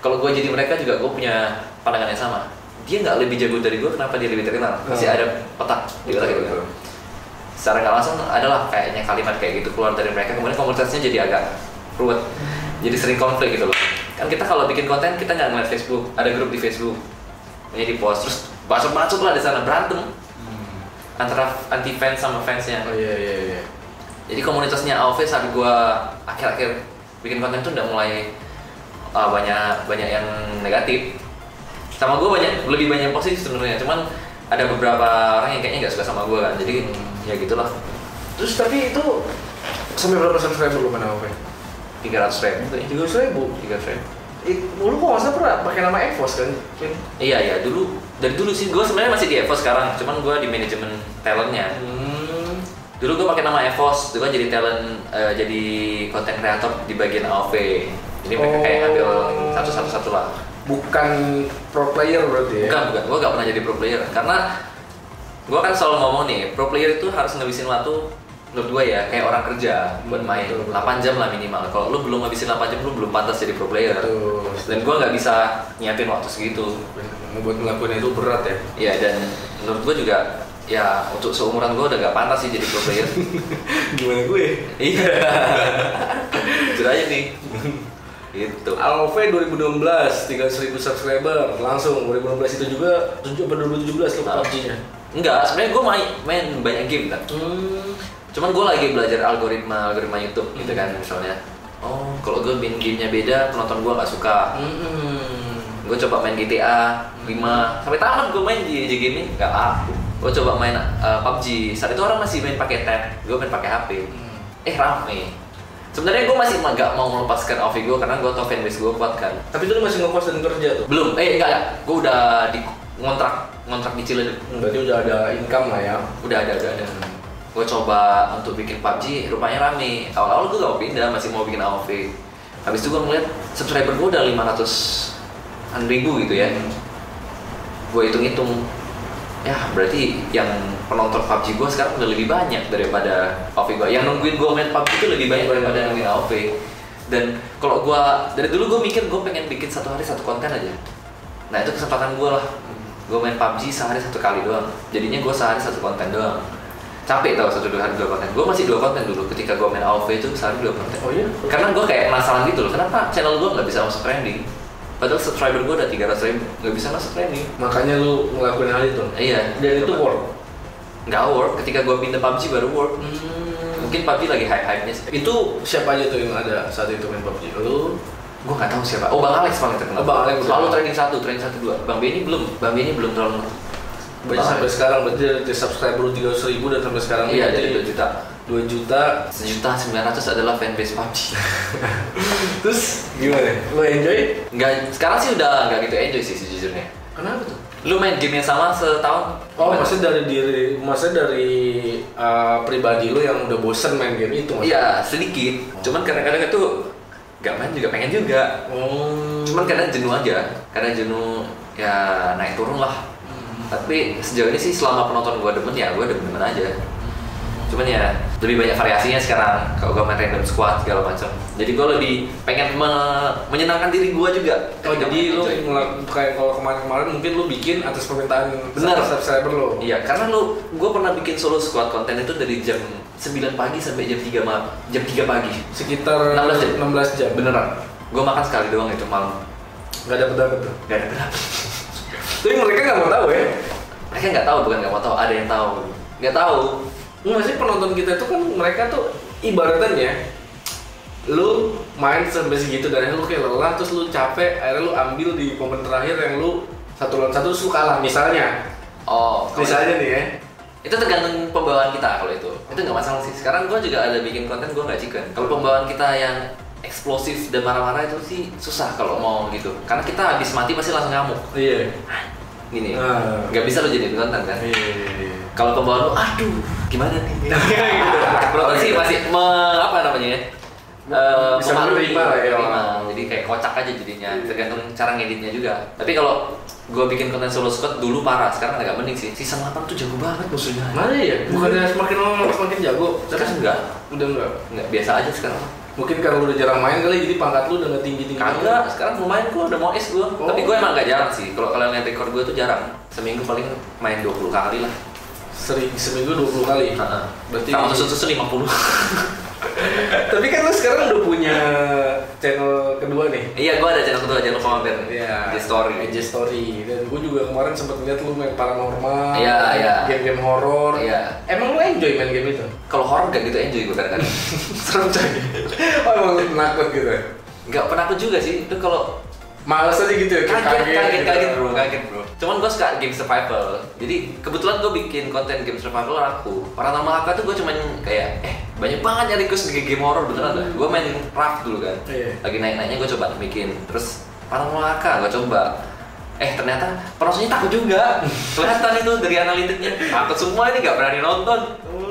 Speaker 1: kalau gue jadi mereka juga gue punya pandangan yang sama dia nggak lebih jago dari gue kenapa dia lebih terkenal masih
Speaker 2: Oh.
Speaker 1: ada petak di otak gitu kan secara nggak langsung adalah kayaknya kalimat kayak gitu keluar dari mereka kemudian komunitasnya jadi agak ruwet jadi sering konflik gitu loh kan kita kalau bikin konten kita nggak ngeliat Facebook ada grup di Facebook ini di post terus bacot-bacot lah di sana berantem antara anti fans sama fansnya
Speaker 2: Oh iya iya iya.
Speaker 1: jadi komunitasnya AOV saat gua akhir-akhir bikin konten tuh udah mulai uh, banyak banyak yang negatif sama gua banyak lebih banyak yang positif sebenarnya cuman ada beberapa orang yang kayaknya nggak suka sama gua kan jadi
Speaker 2: Hmm.
Speaker 1: ya gitulah
Speaker 2: Terus tapi itu sampai berapa subscriber lu mana Oven?
Speaker 1: 300 ribu kayaknya
Speaker 2: Tiga ratus ribu.
Speaker 1: 300 ribu
Speaker 2: Eh, Lu kok nggak salah pernah pakai nama Evos kan? Vin?
Speaker 1: iya iya dulu dari dulu sih gua sebenarnya masih di Evo sekarang cuman gua di manajemen talentnya
Speaker 2: Hmm.
Speaker 1: dulu gue pakai nama Evos itu kan jadi talent eh, jadi content creator di bagian AOV jadi mereka kayak
Speaker 2: Oh.
Speaker 1: ngambil satu satu satu lah
Speaker 2: Bukan pro player berarti ya?
Speaker 1: bukan bukan gue gak pernah jadi pro player karena gue kan selalu ngomong nih pro player itu harus ngabisin waktu menurut gue ya kayak orang kerja buat
Speaker 2: Hmm,
Speaker 1: main
Speaker 2: betul, betul.
Speaker 1: 8 jam lah minimal kalau lu belum ngabisin 8 jam lu belum pantas jadi pro player
Speaker 2: Betul.
Speaker 1: dan gue nggak bisa nyiapin waktu segitu
Speaker 2: Buat ngelakuin itu berat ya.
Speaker 1: ya dan menurut gue juga ya untuk seumuran gue udah gak pantas sih jadi pro player
Speaker 2: Gimana gue?
Speaker 1: Iya. Jujur aja nih. Gitu.
Speaker 2: Alve 2016 300 ribu subscriber langsung 2016 itu juga 7 atau 2017 lu
Speaker 1: Nah.
Speaker 2: PUBG-nya.
Speaker 1: Enggak, sebenarnya gue main, main banyak game kan.
Speaker 2: Hmm.
Speaker 1: Cuman gue lagi belajar algoritma algoritma YouTube gitu kan misalnya. Oh, kalau gue main gamenya beda, penonton gue nggak suka.
Speaker 2: Hmm.
Speaker 1: Gue coba main GTA 5 sampai tamat gue main di di game ini nggak laku. Gue coba main uh, PUBG. Saat itu orang masih main pakai tab, gue main pakai HP. Eh rame. Sebenarnya gue masih nggak mau melepaskan OV gue karena gue tau fanbase gue kuat kan.
Speaker 2: Tapi itu lu masih ngekos dan kerja tuh?
Speaker 1: Belum, eh enggak, enggak. Gue udah di ngontrak, ngontrak di Ciledug.
Speaker 2: Hmm, Berarti udah ada income lah ya.
Speaker 1: Udah ada, udah ada. Gue coba untuk bikin PUBG, rupanya rame. Awal-awal gue gak mau pindah, masih mau bikin AOV. Habis itu gue ngeliat subscriber gue udah 500 ribu gitu
Speaker 2: Iya.
Speaker 1: ya. Gue hitung-hitung, ya berarti yang penonton PUBG gue sekarang udah lebih banyak daripada AOV gue. Yang nungguin gue main PUBG itu lebih banyak
Speaker 2: Iya.
Speaker 1: daripada yang nungguin AOV. Dan kalau gue, dari dulu gue mikir gue pengen bikin satu hari satu konten aja. nah itu kesempatan gue lah gue main PUBG sehari satu kali doang jadinya gue sehari satu konten doang capek tau satu dua hari dua konten gue masih dua konten dulu ketika gue main AoV itu sehari dua konten
Speaker 2: Oh iya?
Speaker 1: karena gue kayak penasaran gitu loh kenapa channel gue nggak bisa masuk trending padahal subscriber gue udah 300 ribu nggak bisa masuk trending
Speaker 2: Makanya lu ngelakuin hal itu.
Speaker 1: iya
Speaker 2: Dan itu work.
Speaker 1: nggak work ketika gue pindah PUBG baru work mungkin PUBG lagi hype hype nya
Speaker 2: Itu siapa aja tuh yang ada saat itu main PUBG? Lu
Speaker 1: gue nggak tahu siapa oh bang Alex paling
Speaker 2: Oh,
Speaker 1: terkenal
Speaker 2: Bang Alex.
Speaker 1: selalu trending satu trending satu dua bang Benny belum bang Benny belum terlalu
Speaker 2: berarti
Speaker 1: Bang
Speaker 2: sampai
Speaker 1: Alex.
Speaker 2: sekarang berarti dari subscriber lu 300 ribu dan sampai sekarang
Speaker 1: iya
Speaker 2: berarti
Speaker 1: jadi dua juta
Speaker 2: 2 juta.
Speaker 1: sejuta sembilan ratus adalah fanbase PUBG
Speaker 2: Terus gimana? Lu enjoy?
Speaker 1: nggak sekarang sih udah nggak gitu enjoy sih sejujurnya
Speaker 2: Kenapa tuh?
Speaker 1: lu main game yang sama setahun
Speaker 2: Oh,
Speaker 1: Gimana?
Speaker 2: maksudnya dari diri, maksudnya dari uh, pribadi lu yang udah bosen main game itu maksudnya?
Speaker 1: iya sedikit cuman kadang-kadang itu nggak main juga pengen juga
Speaker 2: Oh.
Speaker 1: cuman kadang jenuh aja kadang jenuh ya naik turun lah tapi sejauh ini sih selama penonton gua demen ya gua demen-demen aja
Speaker 2: Hmm.
Speaker 1: cuman ya lebih banyak variasinya sekarang kalau gua main random squad segala macam jadi gua lebih pengen me- menyenangkan diri gua juga
Speaker 2: Oh,
Speaker 1: ketika
Speaker 2: jadi
Speaker 1: main
Speaker 2: lu
Speaker 1: enjoy.
Speaker 2: ngelakuin kayak kalau kemarin-kemarin mungkin lu bikin atas permintaan
Speaker 1: Benar.
Speaker 2: subscriber lu.
Speaker 1: Iya, karena lu, gue pernah bikin solo squad konten itu dari jam 9 pagi sampai jam 3 malam, jam 3 pagi.
Speaker 2: Sekitar
Speaker 1: 16 jam.
Speaker 2: 16 jam.
Speaker 1: Beneran, gue makan sekali doang itu malam.
Speaker 2: Gak dapet dapet tuh.
Speaker 1: Gak ada kenapa.
Speaker 2: Tapi mereka gak mau tahu ya.
Speaker 1: Mereka nggak tahu, bukan nggak mau tahu, ada yang tahu. Nggak tahu.
Speaker 2: Masih penonton kita tuh kan mereka tuh ibaratnya ya, lu main sampai segitu dan akhirnya lu kayak lelah terus lu capek akhirnya lu ambil di momen terakhir yang lu satu lawan satu terus lu kalah misalnya
Speaker 1: Oh, kalau
Speaker 2: misalnya nih ya
Speaker 1: itu tergantung pembawaan kita kalau itu itu nggak masalah sih sekarang gue juga ada bikin konten gue nggak chicken kalau pembawaan kita yang eksplosif dan marah-marah itu sih susah kalau mau gitu karena kita habis mati pasti langsung ngamuk
Speaker 2: iya
Speaker 1: gini
Speaker 2: Ah.
Speaker 1: nggak bisa lo jadi konten kan
Speaker 2: iya iya
Speaker 1: kalau pembawaan lo aduh gimana nih
Speaker 2: gitu.
Speaker 1: penonton sih masih me- apa namanya ya Eh,
Speaker 2: Bisa
Speaker 1: memaklumi,
Speaker 2: menerima lah ya. Iya.
Speaker 1: menerima. jadi kayak kocak aja jadinya tergantung cara ngeditnya juga tapi kalau gue bikin konten solo squad dulu parah sekarang agak mending sih season 8 tuh jago banget musuhnya
Speaker 2: mana ya bukannya semakin lama semakin jago tapi
Speaker 1: sekarang Kan? enggak
Speaker 2: udah enggak
Speaker 1: nggak biasa aja sekarang
Speaker 2: mungkin karena lu udah jarang main kali jadi pangkat lu udah nggak tinggi tinggi
Speaker 1: kagak sekarang lumayan gue udah mau es gue
Speaker 2: ya. Oh.
Speaker 1: tapi gue emang nggak jarang sih kalau kalian lihat rekor gue tuh jarang seminggu paling main 20 kali lah
Speaker 2: sering seminggu 20 kali
Speaker 1: berarti
Speaker 2: Berarti-
Speaker 1: sama susu-susu 50
Speaker 2: tapi kan lu sekarang udah punya channel kedua nih
Speaker 1: iya gue ada channel kedua jangan lupa mampir
Speaker 2: Iya,
Speaker 1: di story
Speaker 2: IG story. Dan gue juga kemarin sempat lihat lu main paranormal,
Speaker 1: Iya, iya.
Speaker 2: game-game horor.
Speaker 1: Iya.
Speaker 2: Emang lu enjoy main game itu?
Speaker 1: kalau horor gak gitu enjoy gue kadang-kadang
Speaker 2: Serem coy. oh emang lu nakut gitu. ya?
Speaker 1: nggak pernah aku juga sih itu kalau
Speaker 2: Males aja gitu ya. kayak
Speaker 1: kaget kaget
Speaker 2: gitu.
Speaker 1: kaget bro kaget bro cuman gue suka game survival jadi kebetulan gue bikin konten game survival aku paranormal haka tuh gue cuman kayak eh banyak banget yang request di game horror beneran dah gue main raft dulu kan
Speaker 2: Iya.
Speaker 1: lagi naik naiknya gue coba bikin terus paranormal haka gue coba eh ternyata penontonnya takut juga kelihatan itu dari analitiknya takut semua ini gak berani nonton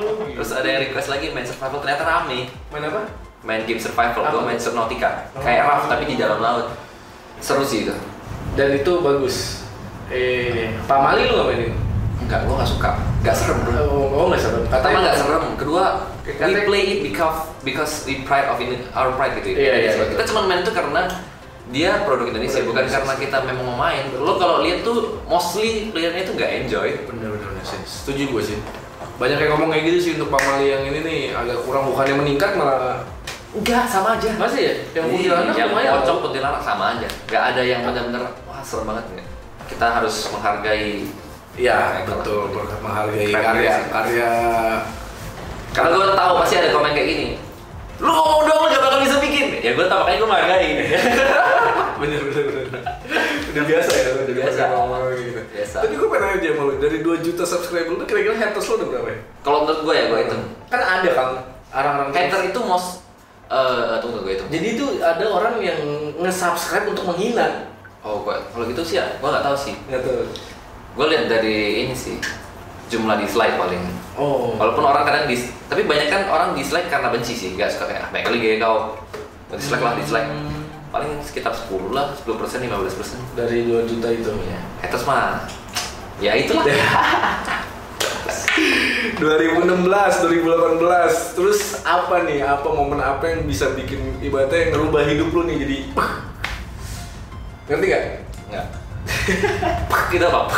Speaker 2: Oh, gitu.
Speaker 1: terus ada yang request lagi main survival ternyata rame
Speaker 2: main apa?
Speaker 1: main game survival gue
Speaker 2: Apa?
Speaker 1: main Subnautica
Speaker 2: Oh.
Speaker 1: kayak raft tapi di dalam laut seru sih itu
Speaker 2: Dan itu bagus. Eh, Pamali lu gak mainin?
Speaker 1: Enggak, gua gak suka. Gak serem bro.
Speaker 2: Oh, oh gak serem.
Speaker 1: Pertama gak serem, kedua we
Speaker 2: Katanya-
Speaker 1: play it because because we pride of in our pride gitu.
Speaker 2: Iya, iya,
Speaker 1: Kita
Speaker 2: betul.
Speaker 1: cuma main itu karena dia produk Indonesia,
Speaker 2: Produk
Speaker 1: bukan
Speaker 2: Indonesia.
Speaker 1: karena kita memang mau main. Lo kalau lihat tuh mostly playernya itu nggak enjoy.
Speaker 2: Bener-bener make sense. Setuju gue sih. Banyak yang ngomong kayak gitu sih untuk Pamali yang ini nih agak kurang bukannya meningkat malah
Speaker 1: Enggak, sama aja.
Speaker 2: masih ya? Yang
Speaker 1: Iya,
Speaker 2: kuntilanak
Speaker 1: yang
Speaker 2: lumayan.
Speaker 1: pocong kuntilanak sama aja. Gak ada yang benar-benar wah serem banget ya. Kita harus menghargai
Speaker 2: Iya
Speaker 1: Mereka
Speaker 2: betul
Speaker 1: lah.
Speaker 2: ber- menghargai
Speaker 1: Keren
Speaker 2: karya
Speaker 1: sih.
Speaker 2: karya
Speaker 1: Karena gue tahu pasti ada komen kayak gini. Lu ngomong doang lu gak bakal bisa bikin. Ya gue tahu makanya gue menghargai.
Speaker 2: bener bener bener udah biasa ya udah
Speaker 1: biasa.
Speaker 2: ngomong gitu
Speaker 1: Biasa.
Speaker 2: tapi gue pengen aja malu dari 2 juta subscriber lu kira-kira haters lu udah berapa ya?
Speaker 1: kalau menurut gue ya gue hitung.
Speaker 2: kan ada kan orang-orang
Speaker 1: Hater itu most eh tunggu gue hitung.
Speaker 2: jadi itu ada orang yang nge-subscribe untuk menghina
Speaker 1: Oh gue kalau gitu sih ya gue nggak tahu sih.
Speaker 2: nggak tahu
Speaker 1: Gue lihat dari ini sih jumlah dislike paling.
Speaker 2: oh
Speaker 1: Walaupun orang kadang dis, tapi banyak kan orang dislike karena benci sih, nggak suka kayak ah baik kali gaya kau. Dislike lah dislike.
Speaker 2: Hmm.
Speaker 1: Paling sekitar 10 lah, 10 persen, 15 persen.
Speaker 2: dari 2 juta itu
Speaker 1: Ya, haters mah ya itulah.
Speaker 2: 2016, 2018 Terus apa nih, apa momen apa yang bisa bikin ibaratnya yang ngerubah hidup lu nih jadi Ngerti gak?
Speaker 1: Nggak. Pak, kita apa?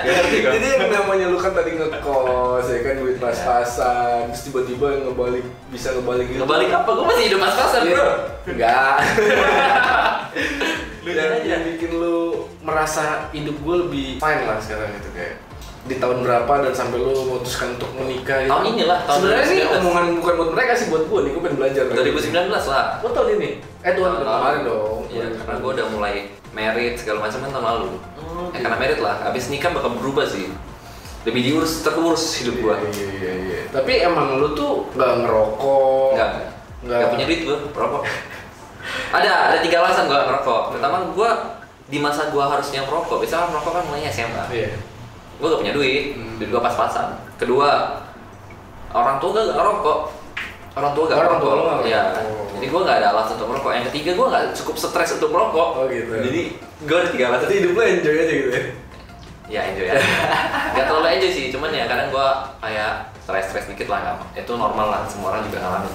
Speaker 1: Gak ngerti kan?
Speaker 2: Jadi yang namanya lu kan tadi ngekos ya kan duit pas-pasan terus tiba-tiba ngebalik bisa ngebalik gitu.
Speaker 1: Ngebalik apa? Gue masih hidup pas-pasan
Speaker 2: Iya.
Speaker 1: bro
Speaker 2: Enggak.
Speaker 1: Lu
Speaker 2: yang,
Speaker 1: aja.
Speaker 2: yang bikin lu merasa hidup gue lebih fine lah sekarang gitu kayak di tahun berapa dan sampai lu memutuskan untuk menikah gitu.
Speaker 1: Tahun Oh, inilah, tahun
Speaker 2: Sebenarnya sih
Speaker 1: 2019.
Speaker 2: omongan bukan buat mereka sih buat gue nih, gue pengen belajar.
Speaker 1: 2019 lah
Speaker 2: Gue tahun ini. Eh tahun
Speaker 1: Tahun
Speaker 2: kemarin
Speaker 1: lalu.
Speaker 2: dong.
Speaker 1: Iya,
Speaker 2: Kemarin.
Speaker 1: karena gue udah mulai merit segala macam kan tahun lalu.
Speaker 2: Oh,
Speaker 1: ya,
Speaker 2: gitu.
Speaker 1: karena merit lah, abis nikah bakal berubah sih. Lebih diurus, terurus hidup gue.
Speaker 2: Iya iya iya. Tapi emang lu tuh nggak ngerokok.
Speaker 1: Enggak,
Speaker 2: Nggak.
Speaker 1: enggak punya duit gue, perokok. ada, ada tiga alasan gue ngerokok. Pertama gue di masa gue harusnya merokok, biasanya orang merokok kan mulainya SMA.
Speaker 2: Iya.
Speaker 1: Gue gak punya duit,
Speaker 2: Hmm.
Speaker 1: duit gue pas-pasan. Kedua, orang tua gue gak ngerokok. Orang tua gak
Speaker 2: Orang tua lu
Speaker 1: merokok.
Speaker 2: nggak
Speaker 1: Iya.
Speaker 2: ngerokok.
Speaker 1: Jadi gue gak ada alasan untuk merokok. Yang ketiga gue gak cukup stres untuk merokok.
Speaker 2: Oh, gitu.
Speaker 1: Jadi gue ada tiga alasan.
Speaker 2: Jadi hidup lu enjoy aja gitu ya.
Speaker 1: Ya enjoy aja. gak terlalu enjoy sih, cuman ya kadang gua kayak stres-stres dikit lah nggak apa- Itu normal lah, semua orang juga ngalamin.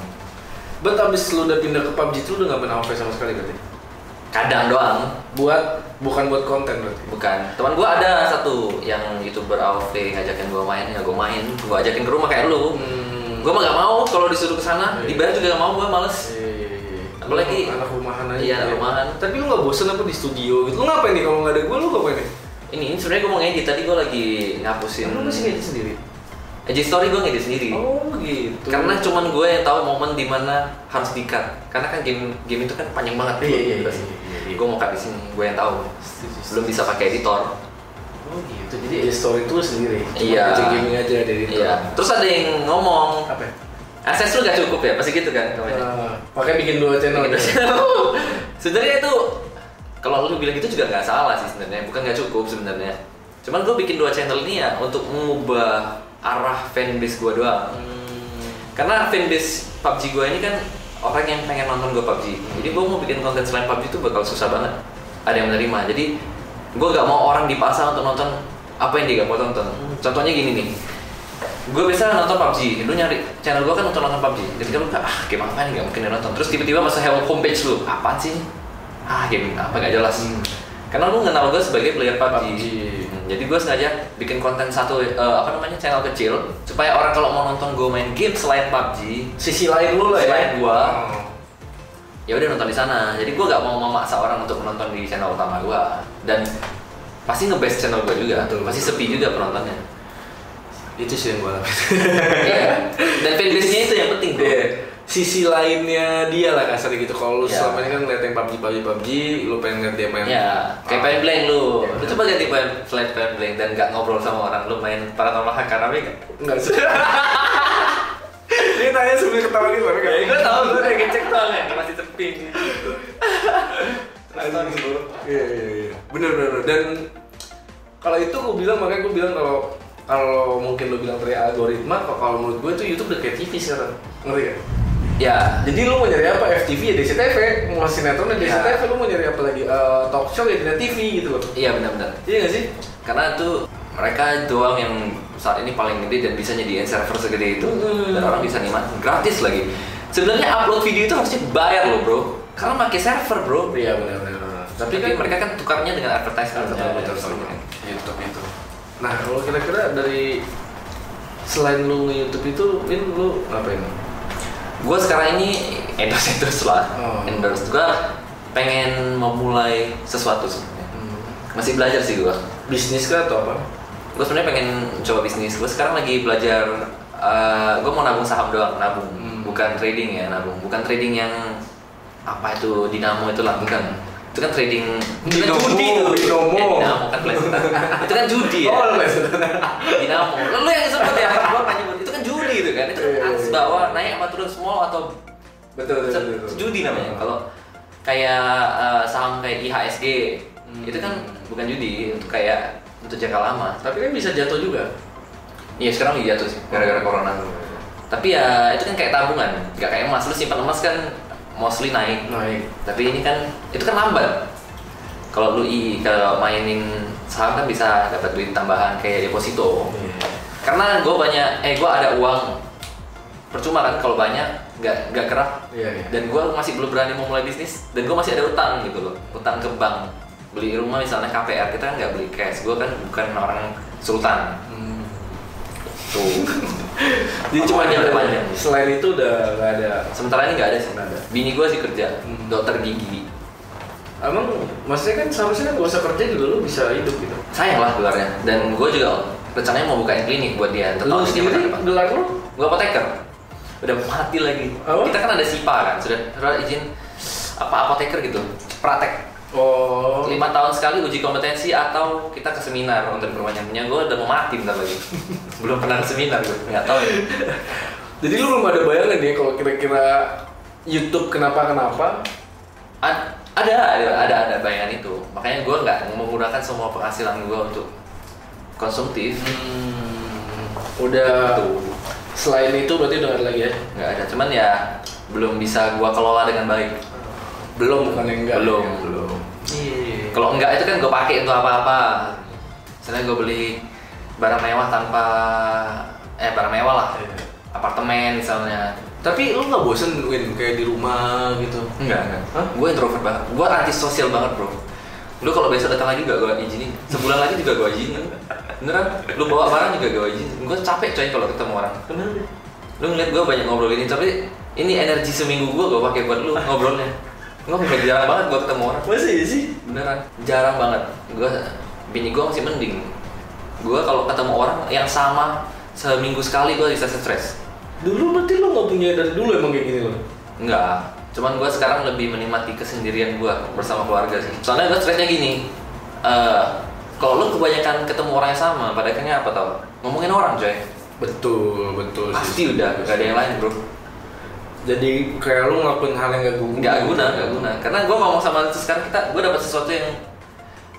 Speaker 2: Bet abis lu udah pindah ke PUBG tuh udah nggak main AoV sama sekali berarti.
Speaker 1: Kadang doang,
Speaker 2: Buat bukan buat konten berarti.
Speaker 1: bukan. Teman gua ada satu yang youtuber AOV ngajakin gua main, ya gua main. Gua ajakin ke rumah kayak lu.
Speaker 2: Hmm.
Speaker 1: Gua mah nggak mau kalau disuruh ke sana,
Speaker 2: Iya.
Speaker 1: dibayar juga nggak mau, gua males. Apalagi-
Speaker 2: anak rumahan aja.
Speaker 1: Iya,
Speaker 2: gitu ya.
Speaker 1: rumahan.
Speaker 2: Tapi lu nggak bosen apa di studio gitu? Lu ngapain nih kalau nggak ada gue lu ngapain nih?
Speaker 1: Ini, ini sebenarnya gua mau ngedit tadi gua lagi ngapusin.
Speaker 2: Lu masih ngedit sendiri.
Speaker 1: Edit story gua ngedit sendiri.
Speaker 2: Oh gitu.
Speaker 1: Karena cuman gue yang tahu momen dimana harus di-cut. Karena kan game game itu kan panjang banget.
Speaker 2: Iya, iya, iya,
Speaker 1: Terus,
Speaker 2: iya, iya.
Speaker 1: Gue mau cut di sini, gue yang tahu.
Speaker 2: Setuju, setuju.
Speaker 1: Belum bisa pakai editor.
Speaker 2: Oh gitu. Jadi edit story itu lu sendiri. Cuma
Speaker 1: Iya.
Speaker 2: kerja gaming aja dari itu.
Speaker 1: Iya. Terus ada yang ngomong,
Speaker 2: Apa? ya?
Speaker 1: akses lu gak cukup ya? Pasti gitu kan? namanya.
Speaker 2: Eh, Pakai bikin dua channel.
Speaker 1: Gitu. sebenarnya itu kalau lu bilang gitu juga nggak salah sih sebenarnya. Bukan nggak cukup sebenarnya. Cuman gue bikin dua channel ini ya untuk mengubah arah fanbase gue doang.
Speaker 2: Hmm.
Speaker 1: karena fanbase PUBG gue ini kan orang yang pengen nonton gue PUBG jadi gue mau bikin konten selain PUBG itu bakal susah banget ada yang menerima jadi gue gak mau orang dipaksa untuk nonton apa yang dia gak mau tonton contohnya gini nih gue biasa nonton PUBG lu nyari channel gue kan untuk nonton PUBG ketika lu ah game apa nih gak mungkin dia nonton terus tiba-tiba masuk home- homepage lu apaan sih ah game apa gak jelas
Speaker 2: Hmm.
Speaker 1: karena lu kenal gue sebagai player PUBG,
Speaker 2: PUBG.
Speaker 1: Hmm, jadi gue sengaja bikin konten satu eh, apa namanya channel kecil supaya orang kalau mau nonton gue main game selain PUBG
Speaker 2: Sisi lain lu lah ya.
Speaker 1: Selain gua.
Speaker 2: Oh.
Speaker 1: ya udah nonton di sana jadi gue gak mau memaksa orang untuk menonton di channel utama gue dan pasti ngebase channel gue juga
Speaker 2: Betul,
Speaker 1: pasti
Speaker 2: betul.
Speaker 1: sepi juga penontonnya
Speaker 2: Itu sih yang gue lakuin.
Speaker 1: Iya. dan fanbase nya itu yang penting bro
Speaker 2: Iya. Sisi lainnya dia lah kasarnya gitu. Kalau lu
Speaker 1: Iya.
Speaker 2: selama ini kan ngeliat yang PUBG, PUBG, PUBG, lu pengen ngeliat dia main.
Speaker 1: ya kayak pengen blank lu
Speaker 2: Iya.
Speaker 1: lu coba ganti pengen selain pengen blank dan gak ngobrol sama orang lu main paranormal hacker apa gak
Speaker 2: Enggak sih. Dia tanya sebelum ketawa gitu, tapi
Speaker 1: ya gue tau gue udah ngecek doang ya masih sepi
Speaker 2: Aduh,
Speaker 1: gitu.
Speaker 2: Iya, iya, iya. Bener, bener, bener. Dan kalau itu gue bilang, makanya gue bilang kalau kalau mungkin lu bilang tadi algoritma, kalau- kalau menurut gue tuh YouTube udah kayak TV sekarang. Ngerti gak?
Speaker 1: ya
Speaker 2: Jadi lu mau nyari apa? FTV ya DCTV, mau sinetron ya
Speaker 1: Iya.
Speaker 2: DCTV, lu mau nyari apa lagi? Eh, talk show ya di TV gitu loh.
Speaker 1: iya benar-benar
Speaker 2: Iya gak sih?
Speaker 1: karena itu mereka doang yang saat ini paling gede dan bisa nyediain server segede itu
Speaker 2: Hmm.
Speaker 1: dan orang bisa nikmatin gratis lagi sebenarnya upload video itu harusnya bayar loh bro karena pakai server bro
Speaker 2: Iya benar benar. benar.
Speaker 1: tapi, kan mereka kan tukarnya dengan
Speaker 2: betul
Speaker 1: advertisement Ya,
Speaker 2: betul
Speaker 1: ya, ya.
Speaker 2: YouTube itu. Nah kalau kira-kira dari selain lu nge YouTube itu, Win lu ngapain?
Speaker 1: gue sekarang ini endorse endorse lah
Speaker 2: Oh.
Speaker 1: endorse gue pengen memulai sesuatu sebenarnya
Speaker 2: Hmm.
Speaker 1: masih belajar sih gue
Speaker 2: Bisnis kah atau apa?
Speaker 1: gue sebenarnya pengen coba bisnis gue sekarang lagi belajar gue mau nabung saham doang nabung
Speaker 2: Hmm.
Speaker 1: bukan trading ya nabung bukan trading yang apa itu dinamo itu lah bukan itu kan trading itu kan
Speaker 2: Binomo,
Speaker 1: judi tuh
Speaker 2: binomo.
Speaker 1: Eh, dinamo kan pelesetan itu kan judi ya
Speaker 2: Oh, les.
Speaker 1: dinamo Lu- lu yang sebut ya gue nanya itu kan judi itu kan itu kan
Speaker 2: Iya, iya,
Speaker 1: atas
Speaker 2: iya.
Speaker 1: bawah naik apa turun small atau
Speaker 2: betul betul
Speaker 1: Se-
Speaker 2: betul.
Speaker 1: judi namanya kalau kayak eh, saham kayak IHSG
Speaker 2: Hmm.
Speaker 1: itu kan bukan judi itu kayak untuk jangka lama
Speaker 2: Tapi kan bisa jatuh juga.
Speaker 1: Iya sekarang lagi jatuh sih gara-gara corona. Hmm. Tapi ya itu kan kayak tabungan, nggak kayak emas. Lu simpan emas kan mostly naik.
Speaker 2: Naik.
Speaker 1: Tapi ini kan itu kan lambat. Kalau lu i kalau mainin saham kan bisa dapat duit tambahan kayak deposito.
Speaker 2: Iya,
Speaker 1: Karena gue banyak, eh gue ada uang percuma kan kalau banyak nggak nggak kerap
Speaker 2: Iya. iya.
Speaker 1: dan gue masih belum berani mau mulai bisnis dan gue masih ada utang gitu loh utang ke bank beli rumah misalnya KPR kita kan nggak beli cash gue kan bukan orang sultan
Speaker 2: Hmm.
Speaker 1: tuh
Speaker 2: Jadi
Speaker 1: Apa
Speaker 2: cuma
Speaker 1: aja
Speaker 2: ada-
Speaker 1: depannya?
Speaker 2: Selain itu udah nggak ada.
Speaker 1: sementara ini nggak ada sih
Speaker 2: Nggak ada.
Speaker 1: bini gue sih kerja
Speaker 2: Hmm.
Speaker 1: dokter gigi
Speaker 2: Emang maksudnya kan seharusnya kan gak usah kerja dulu lu bisa hidup gitu.
Speaker 1: sayang lah gelarnya dan gue juga rencananya mau bukain klinik buat dia untuk
Speaker 2: Lu
Speaker 1: tahun ini apa tahun
Speaker 2: sendiri
Speaker 1: depan
Speaker 2: gelar lu?
Speaker 1: gue apoteker udah mati lagi
Speaker 2: Apa?
Speaker 1: kita kan ada sipa kan sudah sudah izin apa apoteker gitu praktek
Speaker 2: Oh.
Speaker 1: lima tahun sekali uji kompetensi atau kita ke seminar untuk perbanyak punya gue udah mau mati bentar lagi belum pernah ke seminar gue nggak tahu ya.
Speaker 2: Jadi lu belum ada bayangan ya kalau kira-kira YouTube kenapa kenapa?
Speaker 1: Ad- ada ada ada ada bayangan itu makanya gue nggak menggunakan semua penghasilan gue untuk konsumtif Hmm.
Speaker 2: Udah
Speaker 1: Tuh.
Speaker 2: selain itu berarti udah nggak ada lagi ya?
Speaker 1: nggak ada cuman ya belum bisa gue kelola dengan baik belum
Speaker 2: Bukan yang nggak,
Speaker 1: belum
Speaker 2: ya.
Speaker 1: belum
Speaker 2: Iya.
Speaker 1: kalau enggak itu kan gue pakai untuk apa-apa misalnya gue beli barang mewah tanpa eh barang mewah lah apartemen misalnya
Speaker 2: Tapi lu nggak bosen Win kayak di rumah gitu?
Speaker 1: Enggak, enggak.
Speaker 2: Hah?
Speaker 1: Gue introvert banget. Gue antisosial banget, bro. Lu kalau besok datang lagi gak gue izinin. Sebulan lagi juga gue izinin. Beneran? Lu bawa barang juga gue izinin. Gue capek coy kalau ketemu orang.
Speaker 2: Kenapa?
Speaker 1: Lu ngeliat gue banyak ngobrol ini, tapi ini energi seminggu gue gue pakai buat lu ngobrolnya. Gue bukan jarang banget gue ketemu orang.
Speaker 2: Masih iya sih?
Speaker 1: Beneran? Jarang banget. Gue bini gue masih mending. Gue kalau ketemu orang yang sama seminggu sekali gue bisa stres.
Speaker 2: Dulu berarti lu nggak punya dari dulu emang kayak gini lo?
Speaker 1: Enggak, cuman gue sekarang lebih menikmati kesendirian gue bersama keluarga sih. Soalnya gue stresnya gini, eh kalau lu kebanyakan ketemu orang yang sama, pada akhirnya apa tau? Ngomongin orang coy,
Speaker 2: Betul, betul
Speaker 1: pasti udah gak ada yang lain bro.
Speaker 2: kan? Jadi kayak lu ngelakuin hal yang gak guna
Speaker 1: Gak guna, gak guna. Karena gue ngomong sama lu sekarang kita, gue dapat sesuatu yang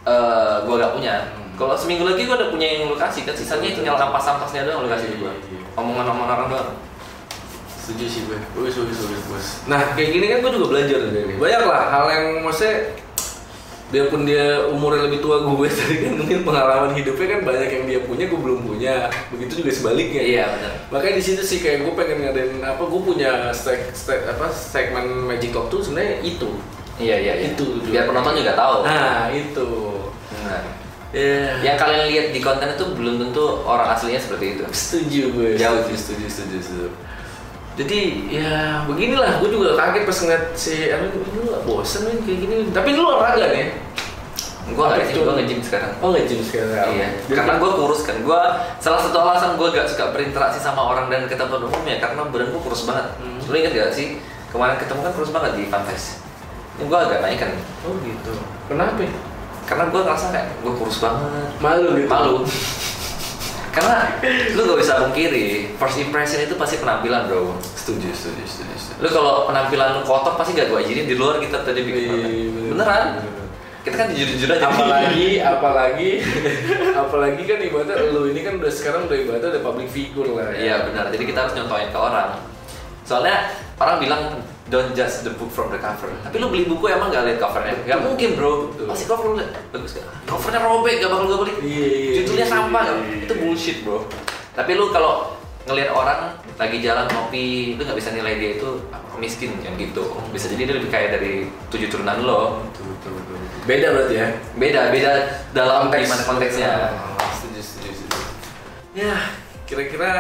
Speaker 1: eh gue gak punya. Kalau seminggu lagi gue udah punya yang lu kasih, kan sisanya tinggal ampas-ampasnya doang lu kasih ke gue. Omongan-omongan orang doang.
Speaker 2: Setuju sih gue Wis, wis, wis, wis Nah kayak gini kan gue juga belajar dari ini Banyak lah hal yang maksudnya Biarpun dia umurnya lebih tua gue Tadi kan mungkin pengalaman hidupnya kan banyak yang dia punya gue belum punya Begitu juga sebaliknya
Speaker 1: Iya benar.
Speaker 2: Makanya di situ sih kayak gue pengen ngadain apa gue punya stek, stek, apa segmen Magic Talk tuh sebenarnya itu.
Speaker 1: Iya iya iya.
Speaker 2: Itu tujuan.
Speaker 1: Biar penonton juga tahu.
Speaker 2: Nah, itu.
Speaker 1: Benar.
Speaker 2: Ya,
Speaker 1: Yang kalian lihat di konten itu belum tentu orang aslinya seperti itu.
Speaker 2: setuju gue.
Speaker 1: Jauh.
Speaker 2: setuju, setuju, setuju, setuju. Jadi ya beginilah gue juga kaget pas ngeliat si Erwin ini lu gak bosen Win, kayak gini. Win." Tapi lu olahraga nih.
Speaker 1: Gua
Speaker 2: Apa itu?
Speaker 1: nggak gym, gua nge-gym sekarang.
Speaker 2: Oh nggak gym sekarang.
Speaker 1: Iya,
Speaker 2: Jadi-
Speaker 1: karena gue kurus kan. Gua salah satu alasan gue gak suka berinteraksi sama orang dan ketemu umum ya karena badan gue kurus banget.
Speaker 2: Hmm.
Speaker 1: Lu inget gak sih kemarin ketemu kan kurus banget di Pantes. Ini gue agak naik kan,
Speaker 2: Oh gitu. Kenapa? ya?
Speaker 1: karena gue ngerasa kayak gue kurus banget.
Speaker 2: Malu gitu.
Speaker 1: Malu. karena lu gak bisa mungkiri first impression itu pasti penampilan bro.
Speaker 2: Setuju, setuju, setuju. setuju.
Speaker 1: Lu kalau penampilan lu kotor pasti gak gue izinin di luar kita tadi bikin
Speaker 2: Iya, ya.
Speaker 1: konten.
Speaker 2: bener.
Speaker 1: Beneran? Kita kan jujur-jujur aja.
Speaker 2: apalagi apalagi apalagi kan ibaratnya lu ini kan udah sekarang udah ibaratnya udah public figure lah ya.
Speaker 1: Iya benar. Jadi kita harus nyontohin ke orang. Soalnya orang bilang don't judge the book from the cover. Tapi lu beli buku emang gak lihat covernya? Gak mungkin bro.
Speaker 2: Betul.
Speaker 1: Pasti cover lu liat. bagus gak? Covernya robek gak bakal gue beli.
Speaker 2: Iya, iya,
Speaker 1: Judulnya
Speaker 2: iya,
Speaker 1: sampah.
Speaker 2: iya,
Speaker 1: gak?
Speaker 2: iya.
Speaker 1: Itu bullshit bro. Tapi lu kalau ngelihat orang lagi jalan ngopi, lu nggak bisa nilai dia itu miskin kan gitu. Bisa jadi dia lebih kaya dari tujuh turunan lo.
Speaker 2: Betul, betul, betul, betul. Beda berarti ya.
Speaker 1: Beda beda dalam gimana konteksnya.
Speaker 2: Ah, Setuju, setuju, setuju. Ya, kira-kira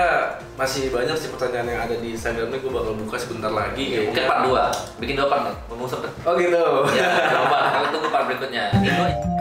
Speaker 2: masih banyak sih pertanyaan yang ada di Instagramnya gue bakal buka sebentar lagi
Speaker 1: Iya,
Speaker 2: kayaknya.
Speaker 1: Mungkin part dua, bikin dua part nih, ngomong sempet.
Speaker 2: Oh gitu.
Speaker 1: Iya. Ya, jangan lupa, kalian tunggu part berikutnya. Gitu aja.